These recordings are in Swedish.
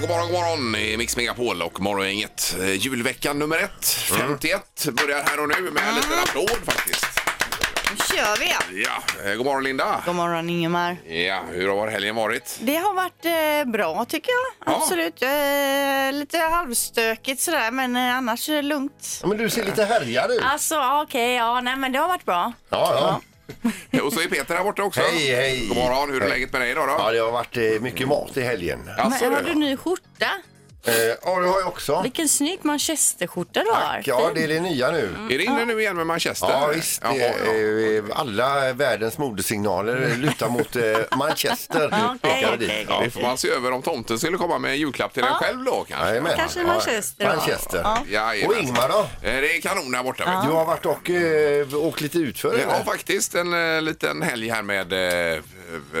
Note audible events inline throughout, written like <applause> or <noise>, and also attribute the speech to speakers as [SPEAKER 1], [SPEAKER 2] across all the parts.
[SPEAKER 1] god morgon i Mix Megapol och Morgongänget. Eh, Julveckan nummer ett, 51, börjar här och nu med en liten applåd faktiskt.
[SPEAKER 2] Nu kör vi!
[SPEAKER 1] Ja, eh, god morgon Linda.
[SPEAKER 2] God morgon Ingemar.
[SPEAKER 1] Ja, hur har helgen varit?
[SPEAKER 2] Det har varit eh, bra tycker jag.
[SPEAKER 1] Ja.
[SPEAKER 2] Absolut. Eh, lite halvstökigt sådär men eh, annars är det lugnt.
[SPEAKER 3] Ja, men du ser lite härjad ut. Ja,
[SPEAKER 2] Alltså okej, ja nej men det har varit bra.
[SPEAKER 3] ja.
[SPEAKER 1] Eh, Och så är Peter här borta också.
[SPEAKER 3] Hej, hej.
[SPEAKER 1] God morgon, hur är läget med dig idag då?
[SPEAKER 3] ja, det har varit eh, mycket mat i helgen. Ja,
[SPEAKER 1] Alltså,
[SPEAKER 4] Men har
[SPEAKER 1] du.
[SPEAKER 4] du ny skjorta?
[SPEAKER 3] ja det har jag också.
[SPEAKER 4] Vilken snygg manchesterskjorta du har.
[SPEAKER 3] Tack. Ja, det är det nya nu.
[SPEAKER 1] Är det inne nu igen med Manchester?
[SPEAKER 3] Ja, visst.
[SPEAKER 1] Jaha,
[SPEAKER 3] Det,
[SPEAKER 1] Mm. ja.
[SPEAKER 3] är- eh, alla världens modesignaler lutar mot eh, Manchester.
[SPEAKER 4] Ja, okej,
[SPEAKER 3] Pekar
[SPEAKER 4] okej,
[SPEAKER 3] dit.
[SPEAKER 4] okej.
[SPEAKER 1] Det får man se över om tomten skulle komma med en julklapp till en själv då kanske.
[SPEAKER 3] Jajamän.
[SPEAKER 4] Kanske
[SPEAKER 3] Ja,
[SPEAKER 4] Manchester då.
[SPEAKER 3] Manchester.
[SPEAKER 1] Jajamän.
[SPEAKER 3] Och Ingmar då?
[SPEAKER 1] Eh, Det är kanon där borta. vet
[SPEAKER 3] Du har varit och eh, åkt lite utför
[SPEAKER 1] du.
[SPEAKER 3] eller?
[SPEAKER 1] Ja, faktiskt en eh, liten helg här med eh,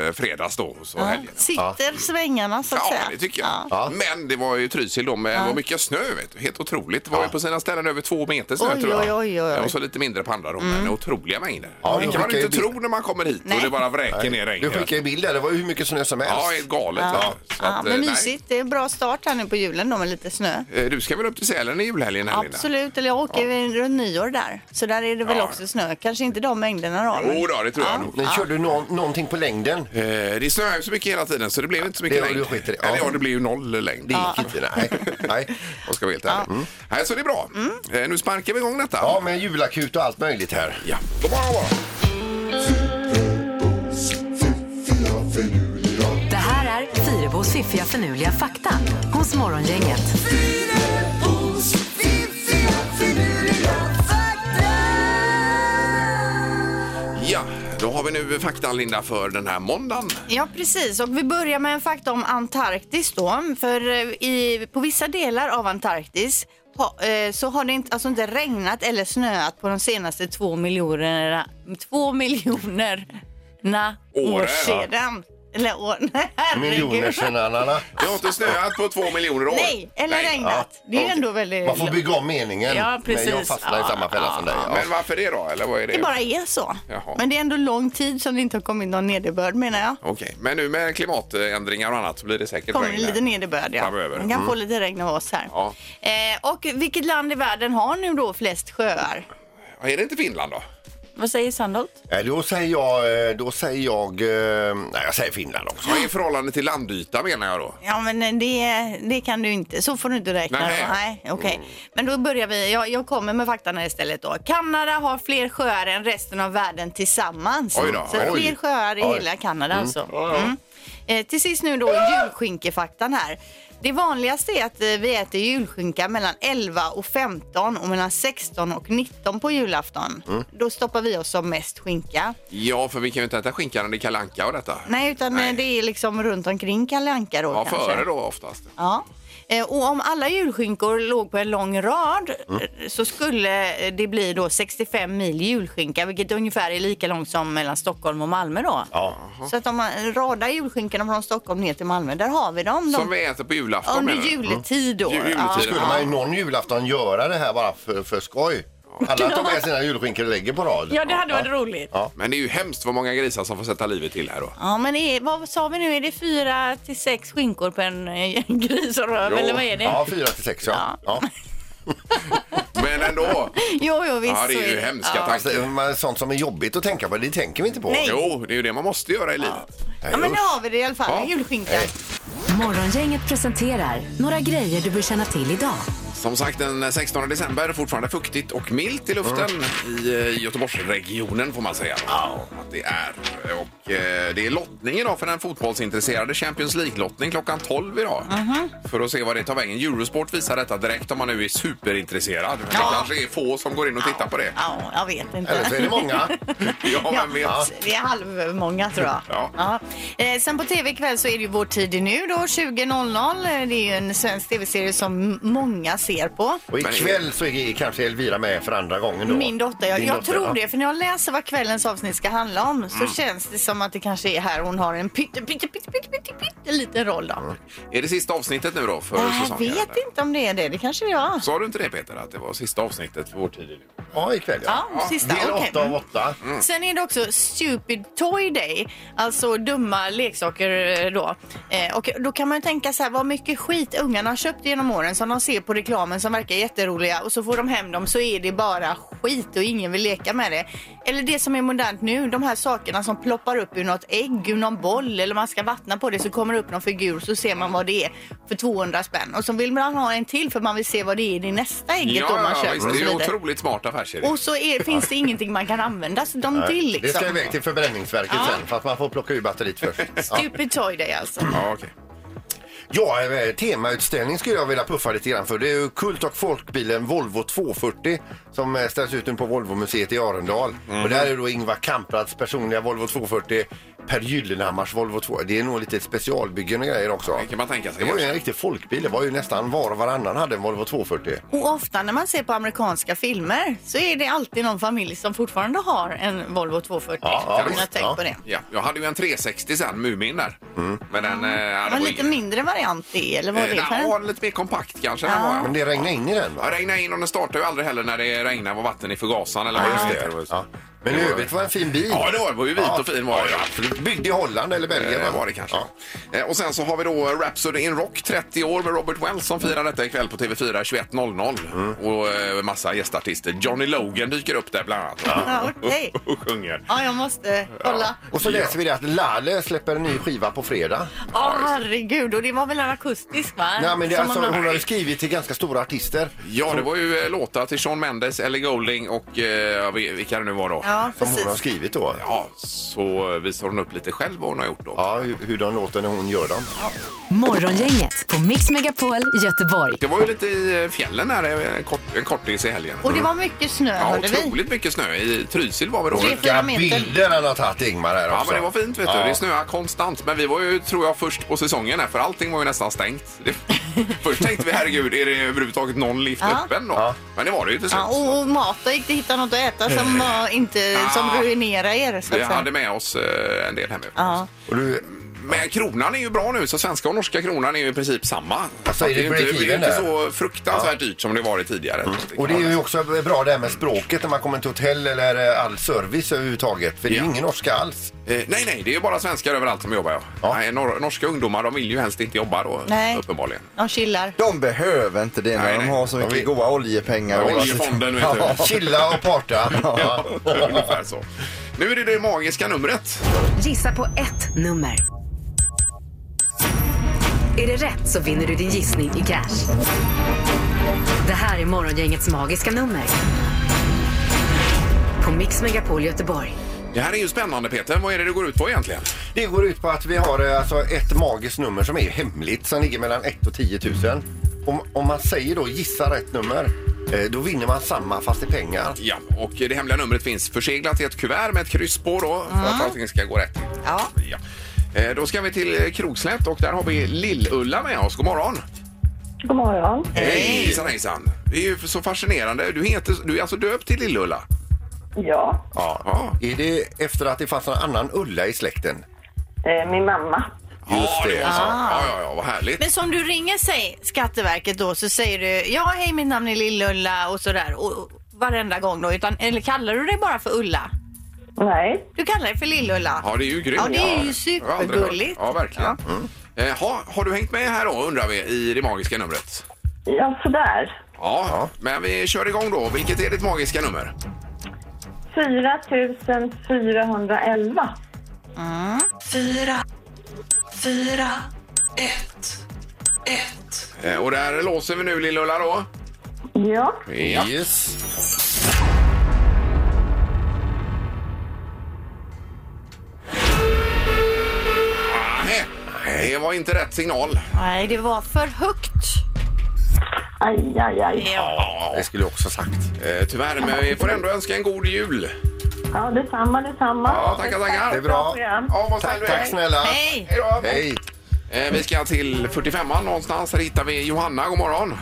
[SPEAKER 1] eh, fredags då. Så helgen.
[SPEAKER 2] Sitter svängarna så att
[SPEAKER 1] Ja,
[SPEAKER 2] säga.
[SPEAKER 1] det tycker jag.
[SPEAKER 3] Ja.
[SPEAKER 1] Men det var ju Trysil då med det var mycket snö. Vet du. Helt otroligt. Det var ju på sina ställen över två meter snö
[SPEAKER 2] Oj,
[SPEAKER 1] tror jag.
[SPEAKER 2] oj, oj, oj.
[SPEAKER 1] Och så lite mindre på andra då. Men otroliga mängder.
[SPEAKER 3] Ja,
[SPEAKER 1] det
[SPEAKER 3] de
[SPEAKER 1] kan man
[SPEAKER 3] skickar
[SPEAKER 1] inte
[SPEAKER 3] ju
[SPEAKER 1] tro när man kommer hit och
[SPEAKER 2] Nej.
[SPEAKER 1] det bara vräker ner regn.
[SPEAKER 3] Du skickade ju bilder, det var ju hur mycket snö som helst.
[SPEAKER 1] Ja, helt galet. va?
[SPEAKER 2] Ja.
[SPEAKER 1] Så
[SPEAKER 2] Ja,
[SPEAKER 1] att, eh,
[SPEAKER 2] men
[SPEAKER 1] nej.
[SPEAKER 2] mysigt. Det är en bra start här nu på julen då med lite snö.
[SPEAKER 1] Eh, Du ska väl upp till Sälen i julhelgen? här, Linda?
[SPEAKER 2] Absolut, eller jag åker ja. runt nyår där. Så där är det väl
[SPEAKER 1] Ja.
[SPEAKER 2] också snö. Kanske inte de mängderna då. men-
[SPEAKER 1] Jo då, det tror jag nog.
[SPEAKER 3] Men körde du nå- någonting på längden?
[SPEAKER 1] Eh, Det snöar ju så mycket hela tiden så det blev inte så
[SPEAKER 3] Det
[SPEAKER 1] mycket
[SPEAKER 3] har
[SPEAKER 1] längd.
[SPEAKER 3] du skiter i. Ja.
[SPEAKER 1] Eller ja, det blev ju noll längd.
[SPEAKER 3] Det gick inte, nej. nej.
[SPEAKER 1] <laughs> Jag ska vara helt ärlig. Mm. Nej, så det är bra. Eh, Nu sparkar vi igång detta.
[SPEAKER 3] Ja, med julakut och allt möjligt här.
[SPEAKER 1] Ja. God morgon, god morgon.
[SPEAKER 5] Det här är Fyrabos fiffiga förnuliga fakta hos Morgongänget.
[SPEAKER 1] Ja, då har vi nu faktan Linda för den här måndagen.
[SPEAKER 2] Ja, precis. Och vi börjar med en fakta om Antarktis då. För eh, i, på vissa delar av Antarktis ha, eh, så har det inte, alltså inte regnat eller snöat på de senaste två miljonerna, två miljonerna
[SPEAKER 1] Åren,
[SPEAKER 2] år
[SPEAKER 1] ja.
[SPEAKER 2] sedan. Eller år, nej, <laughs>
[SPEAKER 3] Miljoner
[SPEAKER 2] herregud.
[SPEAKER 3] senanarna.
[SPEAKER 1] Det har inte snöat på två miljoner år.
[SPEAKER 2] Nej, eller regnat. Det är ju ändå väldigt...
[SPEAKER 3] Man får bygga om meningen.
[SPEAKER 2] Eh, Ja, precis.
[SPEAKER 3] Men jag fastnar i
[SPEAKER 2] Ja,
[SPEAKER 3] samma fälla som dig.
[SPEAKER 1] Ja.
[SPEAKER 3] Ja.
[SPEAKER 1] Men varför det då? Eller vad är det?
[SPEAKER 2] Det bara är så.
[SPEAKER 1] Jaha.
[SPEAKER 2] Men det är ändå lång tid som det inte har kommit någon nederbörd menar jag.
[SPEAKER 1] Okej, men nu med klimatändringar och annat så blir det säkert
[SPEAKER 2] kommer
[SPEAKER 1] regn
[SPEAKER 2] det lite
[SPEAKER 1] här.
[SPEAKER 2] nederbörd. Ja.
[SPEAKER 1] Framöver. Mm.
[SPEAKER 2] Man kan få lite regn av oss här.
[SPEAKER 1] Ja.
[SPEAKER 2] Eh, och vilket land i världen har nu då flest sjöar?
[SPEAKER 1] Ja, Är det inte Finland då?
[SPEAKER 2] Vad säger Sandholt?
[SPEAKER 3] Nej, Eh, Då säger jag, eh, då säger jag, eh, nej jag säger Finland också.
[SPEAKER 1] Vad är förhållande till landyta menar jag då?
[SPEAKER 2] Ja, men eh, det, det kan du inte. Så får du inte räkna.
[SPEAKER 1] Nej. Mm.
[SPEAKER 2] då. Nej, okej. Men då börjar vi. Jag, jag kommer med faktan här istället då. Kanada har fler sjöar än resten av världen tillsammans.
[SPEAKER 1] Oj då,
[SPEAKER 2] Så
[SPEAKER 1] oj.
[SPEAKER 2] fler sjöar i
[SPEAKER 3] Oj.
[SPEAKER 2] hela Kanada alltså. Mm. Eh, till sist nu då julskinkefaktan här. Det vanligaste är att eh, vi äter julskinka mellan 11 och 15 och mellan 16 och 19 på julafton.
[SPEAKER 1] Mm.
[SPEAKER 2] Då stoppar vi oss som mest skinka.
[SPEAKER 1] Ja, för vi kan ju inte äta skinkan när det är Kalle Anka och detta.
[SPEAKER 2] Nej, utan eh,
[SPEAKER 1] Nej.
[SPEAKER 2] det är liksom runt omkring Kalle Anka då
[SPEAKER 1] Ja,
[SPEAKER 2] kanske.
[SPEAKER 1] före då oftast.
[SPEAKER 2] Ja. Eh, Och om alla julskinkor låg på en lång rad eh, så skulle det bli då 65 mil julskinka vilket ungefär är lika långt som mellan Stockholm och Malmö då.
[SPEAKER 3] Ja.
[SPEAKER 2] Så att om man radar julskinkorna från Stockholm ner till Malmö, där har vi dem. De,
[SPEAKER 1] Som vi äter på julafton
[SPEAKER 2] under
[SPEAKER 1] menar du?
[SPEAKER 2] juletid då.
[SPEAKER 1] Ju- juletid.
[SPEAKER 3] Skulle man ju någon julafton göra det här bara för, för skoj? Alla tar med sina julskinkor och lägger på rad.
[SPEAKER 4] Ja, det hade varit roligt.
[SPEAKER 3] Ja.
[SPEAKER 1] Men det är ju hemskt vad många grisar som får sätta livet till här då.
[SPEAKER 2] Ja, men är, vad sa vi nu? Är det fyra till sex skinkor på en, eh, <laughs> en gris och röv,
[SPEAKER 1] Jo.
[SPEAKER 2] eller vad är det?
[SPEAKER 3] Ja, fyra till sex ja. ja.
[SPEAKER 1] Men ändå!
[SPEAKER 2] Jo, jo, <laughs> visst.
[SPEAKER 1] Ja, det
[SPEAKER 2] så
[SPEAKER 1] är ju hemska
[SPEAKER 2] Ja.
[SPEAKER 3] Alltså,
[SPEAKER 1] tankar.
[SPEAKER 3] men sånt som är jobbigt att tänka på, det tänker vi inte på.
[SPEAKER 2] Nej.
[SPEAKER 1] Jo, det är ju det man måste göra i livet.
[SPEAKER 3] Nej,
[SPEAKER 2] Ja, men nu
[SPEAKER 3] usch.
[SPEAKER 2] har vi det i alla fall.
[SPEAKER 1] Ja.
[SPEAKER 2] Julskinka.
[SPEAKER 5] Morgongänget presenterar några grejer du bör känna till idag.
[SPEAKER 1] Som sagt, den 16 december fortfarande fuktigt och milt i luften i eh, Göteborgsregionen får man säga. Att det är. Och eh, det är lottning idag för den fotbollsintresserade. Champions League-lottning klockan 12 idag.
[SPEAKER 2] Mhm.
[SPEAKER 1] För att se vad det tar vägen. Eurosport visar detta direkt om man nu är superintresserad. Men
[SPEAKER 2] Ja.
[SPEAKER 1] Det kanske är få som går in och tittar på det.
[SPEAKER 2] Ja, jag vet inte.
[SPEAKER 3] Eller så är det många.
[SPEAKER 1] Ja, men vet.
[SPEAKER 2] Ja, vi är halvmånga tror jag.
[SPEAKER 1] Ja.
[SPEAKER 2] Eh, sen på tv ikväll så är det ju Vår tid är nu då, 20.00. Eh, Det är ju en svensk tv-serie som m- många ser ser på.
[SPEAKER 3] Och
[SPEAKER 1] Men-
[SPEAKER 3] ikväll så är kanske Elvira med för andra gången då.
[SPEAKER 2] Min dotter, jag,
[SPEAKER 3] Din
[SPEAKER 2] jag
[SPEAKER 3] dotter,
[SPEAKER 2] tror
[SPEAKER 3] ja. Mm.
[SPEAKER 2] det. För när jag läser vad kvällens avsnitt ska handla om så känns det som att det kanske är här hon har en pytte, pytte, pytte, pytte, pytte, pytte liten roll då.
[SPEAKER 3] Mm,
[SPEAKER 1] Är det sista avsnittet nu då för
[SPEAKER 2] Jag
[SPEAKER 1] säsongen?
[SPEAKER 2] vet inte om det är det. Det kanske det var.
[SPEAKER 1] Sa du inte det Peter, att det var sista avsnittet för vår tid nu?
[SPEAKER 3] Ja, ikväll ja.
[SPEAKER 2] Ja, sista.
[SPEAKER 3] Del
[SPEAKER 2] okej.
[SPEAKER 3] åtta av åtta.
[SPEAKER 1] Mm.
[SPEAKER 2] Sen är det också Stupid Toy Day, alltså dumma leksaker eh, då. Eh, och då kan man ju tänka så här, vad mycket skit ungarna har köpt genom åren som de ser på reklamen som verkar jätteroliga och så får de hem dem så är det bara skit och ingen vill leka med det. Eller det som är modernt nu, de här sakerna som ploppar upp ur något ägg, ur någon boll eller man ska vattna på det så kommer det upp någon figur så ser man vad det är för 200 spänn. Och så vill man ha en till för man vill se vad det är i det nästa ägget då man köper.
[SPEAKER 1] visst,
[SPEAKER 2] och
[SPEAKER 1] det
[SPEAKER 2] så
[SPEAKER 1] är ju
[SPEAKER 2] vidare.
[SPEAKER 1] otroligt smart affärsidé.
[SPEAKER 2] Och så är, finns det ingenting man kan använda så de till liksom.
[SPEAKER 3] Det ska iväg till förbränningsverket sen för att man får plocka ur
[SPEAKER 1] <laughs>
[SPEAKER 3] batteriet först. Ja.
[SPEAKER 2] Stupid Toy Day alltså.
[SPEAKER 1] Ja, okej.
[SPEAKER 3] Ja, eh, temautställning skulle jag vilja puffa lite grann för. Det är ju Kult och folkbilen Volvo 240 som eh, ställs ut nu på Volvomuseet i Arendal.
[SPEAKER 1] Mhm.
[SPEAKER 3] Och där är då Ingvar Kamprads personliga Volvo 240, Per Gyllenhammars Volvo 2. Det är nog lite specialbyggen och grejer också.
[SPEAKER 1] Det kan man tänka sig.
[SPEAKER 3] Det var ju en riktig folkbil. Det var ju nästan var och varannan hade en Volvo 240.
[SPEAKER 2] Och ofta när man ser på amerikanska filmer så är det alltid någon familj som fortfarande har en Volvo 240.
[SPEAKER 3] Ja, ja,
[SPEAKER 2] jag har
[SPEAKER 3] visst,
[SPEAKER 2] tänkt
[SPEAKER 3] ja.
[SPEAKER 2] på det.
[SPEAKER 1] Ja, jag hade ju en 360 sen, Mumin där.
[SPEAKER 3] Mm.
[SPEAKER 1] Men den... eh, ja,
[SPEAKER 2] Men
[SPEAKER 1] det var
[SPEAKER 2] lite
[SPEAKER 1] ingen-
[SPEAKER 2] mindre variant det eller vad
[SPEAKER 1] Eh,
[SPEAKER 2] är det för
[SPEAKER 1] Ja,
[SPEAKER 2] en?
[SPEAKER 1] lite mer kompakt kanske. den
[SPEAKER 2] Ja.
[SPEAKER 1] var, ja.
[SPEAKER 3] Men det regnade in i den va?
[SPEAKER 1] Ja, regna in och den startar ju aldrig heller när det regnar och vatten i förgasaren eller vad
[SPEAKER 3] Just
[SPEAKER 1] det
[SPEAKER 3] det.
[SPEAKER 1] heter.
[SPEAKER 3] Ja. Men i övrigt var det en fin bil.
[SPEAKER 1] Ja, det var, det var ju vit
[SPEAKER 3] Ja.
[SPEAKER 1] och fin var det.
[SPEAKER 3] Ja, absolut. Byggd i Holland eller Belgien
[SPEAKER 1] Eh, var det kanske.
[SPEAKER 3] Ja.
[SPEAKER 1] Eh, Och sen så har vi då Rhapsody in Rock 30 år med Robert Wells som firar detta ikväll på TV4 21.00.
[SPEAKER 3] Mm.
[SPEAKER 1] Och eh, massa gästartister. Johnny Logan dyker upp där bland annat.
[SPEAKER 2] Ja, okej.
[SPEAKER 1] <laughs> och sjunger.
[SPEAKER 2] Ja, jag måste kolla.
[SPEAKER 3] Och så läser vi det att Laleh släpper en ny skiva på fredag.
[SPEAKER 2] Ja, herregud. Och det var väl en akustisk va?
[SPEAKER 3] Nej, men det, är
[SPEAKER 2] Som
[SPEAKER 3] alltså,
[SPEAKER 2] man-
[SPEAKER 3] hon har ju skrivit till ganska stora artister.
[SPEAKER 1] Ja, det var ju eh, låtar till Sean Mendes, Ellie Goulding och eh, vi- vilka det nu var då.
[SPEAKER 2] Ja,
[SPEAKER 3] Som hon har
[SPEAKER 2] precis.
[SPEAKER 3] skrivit då.
[SPEAKER 1] Ja, så visar hon upp lite själv vad hon har gjort då.
[SPEAKER 3] Ja, hur, hur de låter när hon gör dem.
[SPEAKER 5] Morgongänget på Mix Megapol Göteborg.
[SPEAKER 1] Det var ju lite i fjällen här, eh, en kort, en kortis i helgen.
[SPEAKER 2] Och det var mycket snö
[SPEAKER 1] Ja,
[SPEAKER 2] hörde vi.
[SPEAKER 1] otroligt mycket snö. I Trysil var vi då.
[SPEAKER 2] Tre,
[SPEAKER 3] Vilka
[SPEAKER 2] Fyra meter.
[SPEAKER 3] bilder han har tagit Ingmar här
[SPEAKER 1] Ja,
[SPEAKER 3] också.
[SPEAKER 1] men det var fint. vet
[SPEAKER 3] Ja.
[SPEAKER 1] du. Det snöade konstant. Men vi var ju, tror jag, först på säsongen här, för allting var ju nästan stängt. Det,
[SPEAKER 2] <laughs>
[SPEAKER 1] först tänkte vi, herregud, är det överhuvudtaget någon lift
[SPEAKER 2] Ja.
[SPEAKER 1] öppen då?
[SPEAKER 3] Ja.
[SPEAKER 1] Men det var det ju till slut.
[SPEAKER 2] Ja, oh, och och mat, då gick det att hitta något att äta
[SPEAKER 3] Eh.
[SPEAKER 2] som, var inte, som
[SPEAKER 1] Ah.
[SPEAKER 2] ruinerade er. Så
[SPEAKER 1] vi
[SPEAKER 2] att säga.
[SPEAKER 1] hade med oss eh, en del hemifrån.
[SPEAKER 2] Ja.
[SPEAKER 3] Och du,
[SPEAKER 1] Men kronan är ju bra nu, så svenska och norska kronan är ju i princip samma.
[SPEAKER 3] Alltså, är det
[SPEAKER 1] det, är ju inte, det är ju
[SPEAKER 3] break-even
[SPEAKER 1] inte
[SPEAKER 3] där? Mm.
[SPEAKER 1] så fruktansvärt dyrt som det varit tidigare.
[SPEAKER 3] och det är ju också bra det här med språket när man kommer till hotell eller eh, all service överhuvudtaget. För det är ju
[SPEAKER 1] Ja.
[SPEAKER 3] ingen norska alls.
[SPEAKER 1] Eh, nej, nej, det är ju bara svenskar överallt som jobbar. Ja.
[SPEAKER 3] Ja.
[SPEAKER 1] Nej, nor- norska ungdomar de vill ju helst inte jobba då,
[SPEAKER 2] Nej.
[SPEAKER 1] uppenbarligen.
[SPEAKER 2] De chillar.
[SPEAKER 6] De behöver inte det när
[SPEAKER 1] Nej,
[SPEAKER 6] de
[SPEAKER 1] nej.
[SPEAKER 6] har så mycket
[SPEAKER 3] vi-
[SPEAKER 6] goda oljepengar. och-
[SPEAKER 1] Oljefonden, vet du.
[SPEAKER 3] Chilla och parta.
[SPEAKER 1] <laughs> Ja, ungefär så. Nu är det det magiska numret.
[SPEAKER 5] Gissa på ett nummer. Är det rätt så vinner du din gissning i cash. Det här är Morgongängets magiska nummer. På Mix Megapol Göteborg.
[SPEAKER 1] Det här är ju spännande Peter. Vad är det det går ut på egentligen?
[SPEAKER 3] Det går ut på att vi har eh, alltså ett magiskt nummer som är hemligt som ligger mellan 1 och 10 000. Om, om man säger då gissa rätt nummer, eh, då vinner man samma fast i pengar.
[SPEAKER 1] Ja, och det hemliga numret finns förseglat i ett kuvert med ett kryss på då för att allting ska gå rätt till.
[SPEAKER 2] Ja.
[SPEAKER 1] Ja. Eh, Då ska vi till eh, Krokslätt och där har vi Lill-Ulla med oss. God morgon!
[SPEAKER 7] God morgon.
[SPEAKER 1] Hej! Hejsan hejsan! Det är ju så fascinerande. Du, heter, du är alltså döpt till Lill-Ulla?
[SPEAKER 7] Ja,
[SPEAKER 1] Ja. ja.
[SPEAKER 3] Är det efter att det fanns någon annan Ulla i släkten?
[SPEAKER 7] eh, min mamma.
[SPEAKER 1] Just det.
[SPEAKER 3] det. Ah.
[SPEAKER 1] var så. Ja, ja, ja, vad härligt.
[SPEAKER 2] Men som du ringer sig, Skatteverket då, så säger du ja hej mitt namn är Lill-Ulla och sådär och, och varenda gång då. Utan, eller kallar du dig bara för Ulla?
[SPEAKER 7] Nej,
[SPEAKER 2] Du kallar dig för Lill-Ulla?
[SPEAKER 1] Ja, det är ju grymt.
[SPEAKER 2] Ja, det är ju
[SPEAKER 1] Jag har aldrig hört.
[SPEAKER 2] supergulligt.
[SPEAKER 1] Ja, verkligen. Mm. Eh, ha, har du hängt med här då, undrar vi, i det magiska numret?
[SPEAKER 7] ja sådär.
[SPEAKER 1] Ja, men vi kör igång då. Vilket är ditt magiska nummer?
[SPEAKER 7] 4 411.
[SPEAKER 1] Eh, och där låser vi nu Lill-Ulla då.
[SPEAKER 7] Ja,
[SPEAKER 1] Ja.
[SPEAKER 3] Yes.
[SPEAKER 1] Nej, det var inte rätt signal.
[SPEAKER 2] Nej, det var för högt.
[SPEAKER 7] aj, aj, aj.
[SPEAKER 1] Ja,
[SPEAKER 3] Det skulle jag också sagt.
[SPEAKER 1] eh, tyvärr, men vi får ändå önska en god jul.
[SPEAKER 7] Ja, detsamma, detsamma.
[SPEAKER 1] Ja, tackar, tackar.
[SPEAKER 3] Det är bra.
[SPEAKER 7] program.
[SPEAKER 1] Ja, vad snäll
[SPEAKER 3] Tack,
[SPEAKER 1] du
[SPEAKER 3] tack
[SPEAKER 1] är.
[SPEAKER 3] snälla.
[SPEAKER 2] Hej!
[SPEAKER 1] Hej då.
[SPEAKER 3] Hej.
[SPEAKER 1] Eh, vi ska till 45an någonstans. Här hittar vi Johanna. God morgon.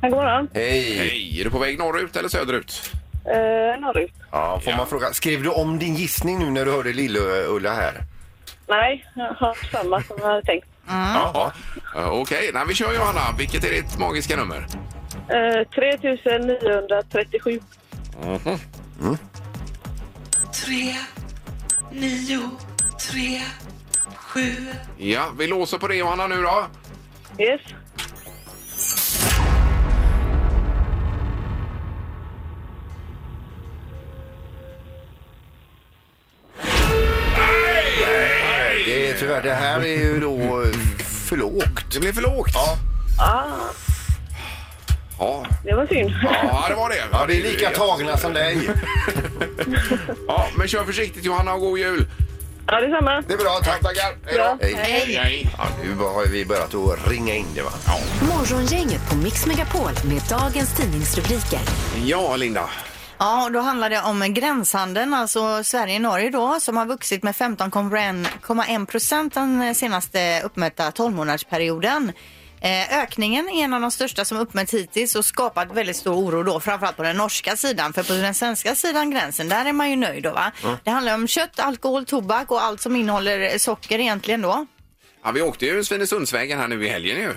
[SPEAKER 7] God morgon.
[SPEAKER 3] Hej!
[SPEAKER 1] Hej! Är du på väg norrut eller söderut?
[SPEAKER 7] Eh, norrut.
[SPEAKER 3] Ja, får man fråga, skrev du om din gissning nu när du hörde Lill-Ulla här?
[SPEAKER 7] Nej, jag har samma som jag hade tänkt.
[SPEAKER 1] Ja. Eh, Okej, Nej, vi kör Johanna. Vilket är ditt magiska nummer?
[SPEAKER 7] Eh, 3937.
[SPEAKER 1] Ja, vi låser på det Johanna nu då.
[SPEAKER 7] Yes.
[SPEAKER 3] Det är tyvärr, det här är ju då eh, för lågt.
[SPEAKER 1] Det blev för lågt. Ja.
[SPEAKER 7] Ah,
[SPEAKER 1] Ja,
[SPEAKER 7] det var synd.
[SPEAKER 1] ja det var det.
[SPEAKER 3] Ja, vi är lika tagna som dig.
[SPEAKER 1] Ja, men kör försiktigt Johanna och god jul.
[SPEAKER 7] Ja, detsamma.
[SPEAKER 3] Det är bra, tack.
[SPEAKER 1] Tackar.
[SPEAKER 7] Bra.
[SPEAKER 3] Hej.
[SPEAKER 1] Hej. Hej.
[SPEAKER 3] Ja, nu har vi börjat att ringa in det va?
[SPEAKER 5] Morgongänget på Mix Megapol med dagens tidningsrubriker.
[SPEAKER 1] Ja, Linda.
[SPEAKER 2] Ja, och då handlar det om gränshandeln, alltså Sverige-Norge då, som har vuxit med 15,1 procent den senaste uppmätta 12-månadersperioden. Eh, Ökningen är en av de största som uppmätts hittills och skapat väldigt stor oro då, framförallt på den norska sidan. För på den svenska sidan gränsen, där är man ju nöjd då va? Det handlar om kött, alkohol, tobak och allt som innehåller socker egentligen då.
[SPEAKER 1] Ja, vi åkte ju Svinesundsvägen här nu i helgen ju,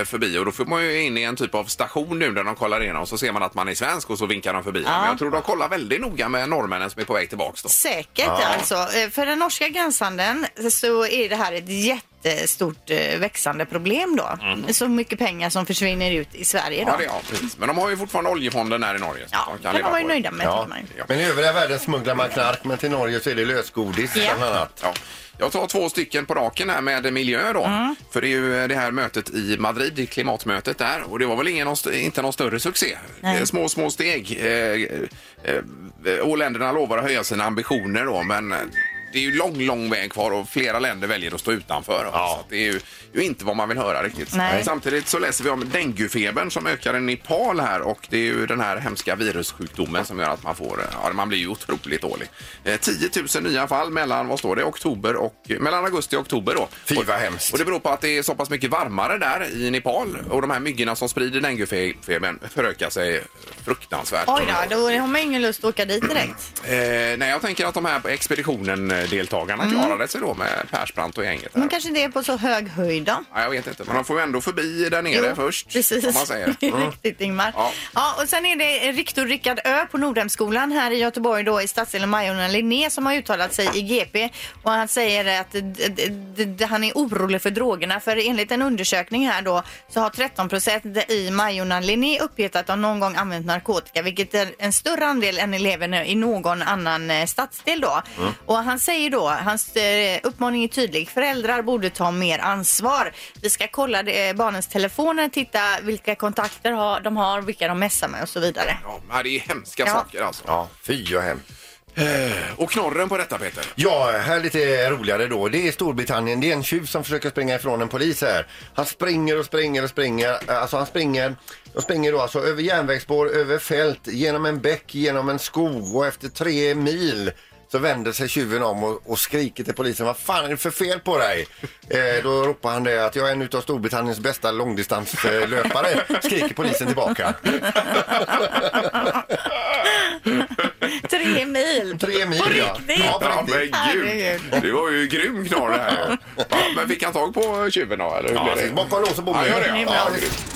[SPEAKER 1] eh, förbi och då får man ju in i en typ av station nu där de kollar in och så ser man att man är svensk och så vinkar de förbi. Men jag tror de kollar väldigt noga med norrmännen som är på väg tillbaks då.
[SPEAKER 2] Säkert alltså. Eh, För den norska gränshandeln så är det här ett jättestort eh, växande problem då. Så mycket pengar som försvinner ut i Sverige då.
[SPEAKER 1] Mm. Ja, det är, ja, precis. Men de har ju fortfarande oljefonden här i Norge. så
[SPEAKER 2] Ja, kan
[SPEAKER 1] de
[SPEAKER 2] man
[SPEAKER 1] leva
[SPEAKER 2] vara
[SPEAKER 1] på
[SPEAKER 2] nöjda med.
[SPEAKER 3] Ja.
[SPEAKER 2] kan man ju.
[SPEAKER 3] Men i övriga världen smugglar man knark, men till Norge så är det lösgodis
[SPEAKER 2] Ja.
[SPEAKER 3] bland annat.
[SPEAKER 1] Ja. Jag tar två stycken på raken här med miljö då. För det är ju det här mötet i Madrid, klimatmötet där. Och det var väl ingen, inte någon större succé. Eh, Små, små steg. Eh, eh, Och länderna lovar att höja sina ambitioner då. Men eh, det är ju lång, lång väg kvar och flera länder väljer att stå utanför. Så att det är ju, ju inte vad man vill höra riktigt.
[SPEAKER 2] Nej.
[SPEAKER 1] Samtidigt så läser vi om denguefebern som ökar i Nepal här och det är ju den här hemska virussjukdomen som gör att man får, eh, ja man blir ju otroligt dålig. Eh, 10 000 nya fall mellan, vad står det, oktober och, mellan augusti och oktober då.
[SPEAKER 3] Fy,
[SPEAKER 1] och,
[SPEAKER 3] vad hemskt.
[SPEAKER 1] Och det beror på att det är så pass mycket varmare där i Nepal och de här myggorna som sprider denguefebern förökar sig fruktansvärt.
[SPEAKER 2] Oj då, då har man ingen lust att åka dit direkt.
[SPEAKER 1] Eh, nej, jag tänker att de här expeditionen-deltagarna
[SPEAKER 2] Mm.
[SPEAKER 1] klarade sig då med Persbrandt och gänget. där.
[SPEAKER 2] Men kanske det är på så hög höjd då.
[SPEAKER 1] Ja, jag vet inte, men de får ju ändå förbi där nere
[SPEAKER 2] Jo,
[SPEAKER 1] först.
[SPEAKER 2] Precis.
[SPEAKER 1] Om
[SPEAKER 2] <laughs>
[SPEAKER 1] man säger. Mm.
[SPEAKER 2] Det är Riktigt Ingmar.
[SPEAKER 1] Ja.
[SPEAKER 2] Ja. och sen är det rektor Rickard Ö på Nordhemskolan här i Göteborg då i stadsdelen Majorna Linné som har uttalat sig i GP och han säger att d- d- d- han är orolig för drogerna för enligt en undersökning här då så har 13 procent i Majorna Linné uppgett att de någon gång använt narkotika vilket är en större andel än eleverna i någon annan eh, stadsdel då. Och han säger då, hans eh, uppmaning är tydlig, föräldrar borde ta mer ansvar. Vi ska kolla eh, barnens telefoner, titta vilka kontakter har, de har, vilka de messar med och så vidare.
[SPEAKER 1] Ja, men det är hemska
[SPEAKER 2] Ja.
[SPEAKER 1] saker alltså.
[SPEAKER 3] Ja, fy och hem.
[SPEAKER 1] Och knorren på detta Peter.
[SPEAKER 3] Ja, här lite roligare då. Det är Storbritannien. Det är en tjuv som försöker springa ifrån en polis här. Han springer och springer och springer. Alltså han springer, och springer då alltså över järnvägsspår, över fält, genom en bäck, genom en skog och efter tre mil så vänder sig tjuven om och, och skriker till polisen. Vad fan är det för fel på dig? Eh, då ropar han det att jag är en utav Storbritanniens bästa långdistanslöpare. Skriker polisen tillbaka.
[SPEAKER 2] Tre mil!
[SPEAKER 3] Tre mil på
[SPEAKER 4] riktigt?
[SPEAKER 3] Ja, på
[SPEAKER 1] Ja,
[SPEAKER 3] riktigt.
[SPEAKER 1] men gud.
[SPEAKER 2] Herregud.
[SPEAKER 1] Det var ju grym knorr det här. Ja, men fick han tag på tjuven då eller? Hur
[SPEAKER 3] Ja,
[SPEAKER 1] blev det?
[SPEAKER 3] bakom lås och bom.
[SPEAKER 1] Ja, gör det.
[SPEAKER 2] Det är
[SPEAKER 1] Ja,
[SPEAKER 2] bra.
[SPEAKER 1] Ja, grymt.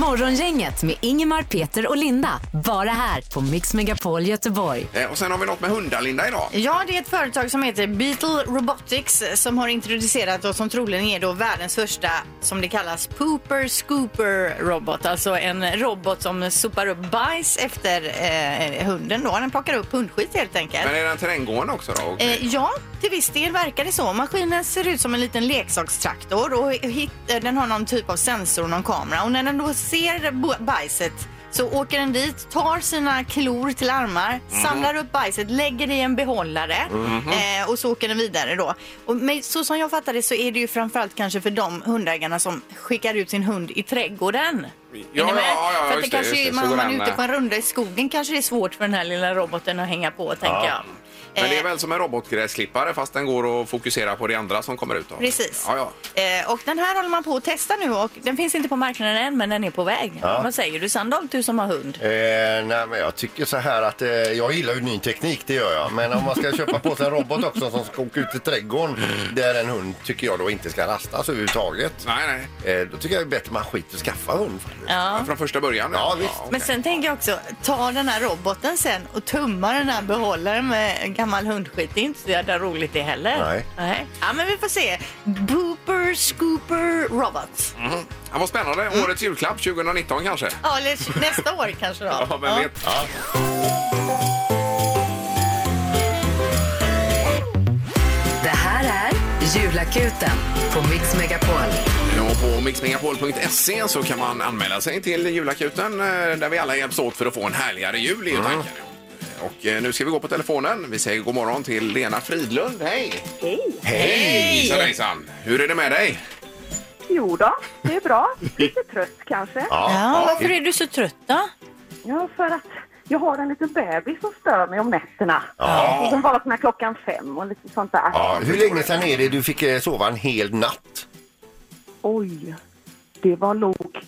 [SPEAKER 5] Morgongänget med Ingemar, Peter och Linda. Bara här på Mix Megapol Göteborg.
[SPEAKER 1] Eh, Och sen har vi något med hundar Linda idag.
[SPEAKER 2] Ja, det är ett företag som heter Beetle Robotics som har introducerat och som troligen är då världens första, som det kallas, pooper scooper robot. Alltså en robot som sopar upp bajs efter eh, hunden då. Den plockar upp hundskit helt enkelt.
[SPEAKER 1] Men är den terränggående också då? Och-
[SPEAKER 2] Eh, ja, till viss del verkar det så. Maskinen ser ut som en liten leksakstraktor och hit, eh, den har någon typ av sensor och någon kamera. Och när den då ser bo- bajset så åker den dit, tar sina klor till armar,
[SPEAKER 1] Mhm.
[SPEAKER 2] samlar upp bajset, lägger det i en behållare eh, och så åker den vidare då. Och med, så som jag fattar det så är det ju framförallt kanske för de hundägarna som skickar ut sin hund i trädgården.
[SPEAKER 1] Ja,
[SPEAKER 2] Är ni med?
[SPEAKER 1] ja, ja,
[SPEAKER 2] för att det
[SPEAKER 1] just det,
[SPEAKER 2] kanske
[SPEAKER 1] just det.
[SPEAKER 2] är-
[SPEAKER 1] Så
[SPEAKER 2] man, om
[SPEAKER 1] går
[SPEAKER 2] man är
[SPEAKER 1] den,
[SPEAKER 2] ute på en runda i skogen kanske det är svårt för den här lilla roboten att hänga på, tänker jag.
[SPEAKER 1] Men det
[SPEAKER 2] Eh,
[SPEAKER 1] är väl som en robotgräsklippare fast den går att fokusera på det andra som kommer ut av.
[SPEAKER 2] Precis.
[SPEAKER 1] Ja, ja.
[SPEAKER 2] Eh, och den här håller man på att testa nu och den finns inte på marknaden än men den är på väg. Vad säger du Sandholt, du som har hund?
[SPEAKER 3] Eh, nej, men jag tycker så här att eh, jag gillar ju ny teknik, det gör jag. Men om man ska köpa på sig en robot också som ska åka ut i trädgården där en hund tycker jag då inte ska rastas överhuvudtaget.
[SPEAKER 1] Nej, nej.
[SPEAKER 3] Eh, då tycker jag det är bättre man skiter och skaffar hund. faktiskt.
[SPEAKER 1] Ja. Från första början.
[SPEAKER 3] Ja, visst.
[SPEAKER 1] okej.
[SPEAKER 2] Men sen tänker jag också, ta den här roboten sen och tumma den här behållaren med gammal hundskit. Det är inte så jävla roligt det heller.
[SPEAKER 3] Nej.
[SPEAKER 2] Ja, men vi får se. Booper Scooper Robots.
[SPEAKER 1] Mhm. Ja, vad spännande. Årets julklapp 2019 kanske?
[SPEAKER 2] Ja, eller nästa år kanske då.
[SPEAKER 1] <laughs> Ja, vem vet?
[SPEAKER 5] Det här är Julakuten på Mix Megapol.
[SPEAKER 1] Ja, på mixmegapol.se så kan man anmäla sig till julakuten eh, där vi alla hjälps åt för att få en härligare jul i mm. tanken. Och eh, nu ska vi gå på telefonen. Vi säger god morgon till Lena Fridlund. Hej! Hej! Hejsan, hejsan! Hur är det med dig?
[SPEAKER 7] Jo då, det är bra. Lite trött kanske.
[SPEAKER 2] Ja, varför är du så trött
[SPEAKER 1] <laughs>
[SPEAKER 2] då?
[SPEAKER 7] Ja, för att jag har en liten bebis som stör mig om nätterna.
[SPEAKER 1] Ja.
[SPEAKER 7] Och Den vaknar klockan fem och lite sånt där.
[SPEAKER 3] Ja, hur länge sedan är det du fick eh, sova en hel natt?
[SPEAKER 7] Oj, det var nog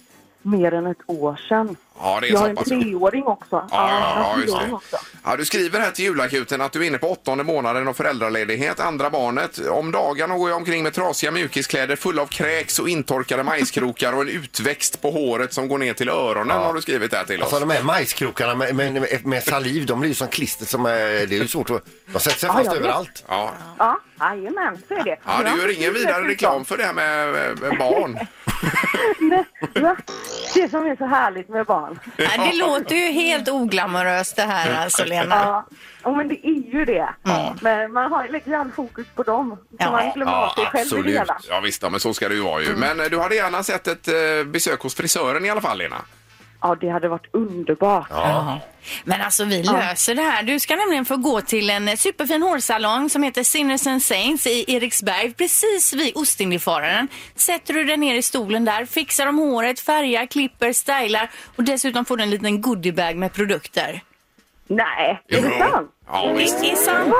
[SPEAKER 7] mer än ett år sedan.
[SPEAKER 1] Ja, det är
[SPEAKER 7] jag har
[SPEAKER 1] så
[SPEAKER 7] en
[SPEAKER 1] pass.
[SPEAKER 7] treåring också.
[SPEAKER 1] Ja, ja,
[SPEAKER 7] jag har
[SPEAKER 1] ja,
[SPEAKER 7] en
[SPEAKER 1] just
[SPEAKER 7] treåring
[SPEAKER 1] det.
[SPEAKER 7] också.
[SPEAKER 1] Ja, du skriver här till julakuten att du är inne på åttonde månaden och föräldraledighet, andra barnet. Om dagarna går jag omkring med trasiga mjukiskläder fulla av kräks och intorkade majskrokar och en utväxt på håret som går ner till öronen har du skrivit här till oss.
[SPEAKER 3] Alltså de här majskrokarna med, med, med saliv, de blir ju som klister som eh, det är ju svårt att... De sätter sig fast
[SPEAKER 7] jag vet.
[SPEAKER 3] överallt.
[SPEAKER 1] Ja.
[SPEAKER 7] Ja, Ah, jajamän, så är det.
[SPEAKER 1] Ja, du gör ingen vidare reklam för det här med eh, barn.
[SPEAKER 7] Nej, va? Det som är så härligt med barn.
[SPEAKER 2] Ja, det låter ju helt oglamoröst det här alltså Lena.
[SPEAKER 7] Ja, ja, men det är ju det. Men man har ju lite grann fokus på dem. Så
[SPEAKER 2] Ja.
[SPEAKER 7] man glömmer
[SPEAKER 1] Ja,
[SPEAKER 7] av sig själv i det
[SPEAKER 3] absolut.
[SPEAKER 7] hela. Mm.
[SPEAKER 1] Ja, visst, ja, men så ska det ju vara ju. Men eh, du hade gärna sett ett eh, besök hos frisören i alla fall, Lena.
[SPEAKER 7] Ja, det hade varit underbart.
[SPEAKER 2] Ja. Men alltså vi löser det här. Du ska nämligen få gå till en eh, superfin hårsalong som heter Sinners and Saints i Eriksberg, precis vid Ostindiefararen. Sätter du dig ner i stolen där, fixar de håret, färgar, klipper, stylar och dessutom får du en liten goodiebag med produkter.
[SPEAKER 7] Nej, är det sant?
[SPEAKER 1] Ja,
[SPEAKER 2] Det
[SPEAKER 1] visst.
[SPEAKER 2] är sant.
[SPEAKER 7] Va?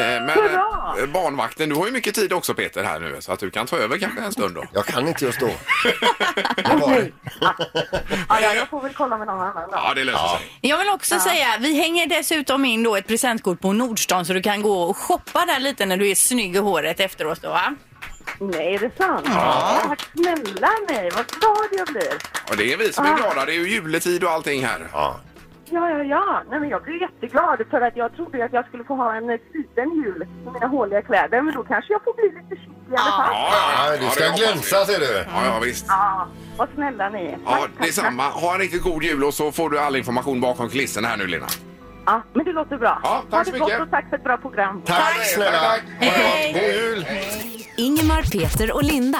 [SPEAKER 1] Eh, Men
[SPEAKER 7] Hurra!
[SPEAKER 1] eh, barnvakten, du har ju mycket tid också Peter här nu så att du kan ta över kanske en stund då.
[SPEAKER 3] Jag kan inte just då. Det var-
[SPEAKER 7] Ah. Ja, ja, jag får väl kolla med någon annan då.
[SPEAKER 1] Ja, det löser sig.
[SPEAKER 2] Jag vill också säga, vi hänger dessutom in då ett presentkort på Nordstan så du kan gå och shoppa där lite när du är snygg i håret efteråt då va?
[SPEAKER 7] Nej, är det sant? Ja. Tack snälla ni, vad glad jag blir.
[SPEAKER 1] Och det är vi som är glada. Det är ju juletid och allting här.
[SPEAKER 3] Ja.
[SPEAKER 7] Ja, ja, ja. Nej, men jag blir jätteglad för att jag trodde ju att jag skulle få ha en eh, sliten jul med mina håliga kläder. Men då kanske jag får bli lite chic i alla fall.
[SPEAKER 3] Ja, du
[SPEAKER 1] det
[SPEAKER 3] ska
[SPEAKER 1] hoppas
[SPEAKER 3] glänsa
[SPEAKER 1] vi.
[SPEAKER 3] ser du.
[SPEAKER 1] Ja, ja, visst.
[SPEAKER 7] Ja, vad snälla ni är.
[SPEAKER 1] Ja,
[SPEAKER 7] Tack, tack,
[SPEAKER 1] detsamma. Ha en riktigt god jul och så får du all information bakom kulisserna här nu, Lena.
[SPEAKER 7] tack. Ja, men det låter bra.
[SPEAKER 1] Ja, tack
[SPEAKER 7] ha
[SPEAKER 1] så
[SPEAKER 7] det
[SPEAKER 1] mycket.
[SPEAKER 7] gott och tack för ett bra program.
[SPEAKER 3] Tack snälla.
[SPEAKER 1] Tack, tack.
[SPEAKER 3] Hej. God jul.
[SPEAKER 5] Ingemar, Peter och Linda.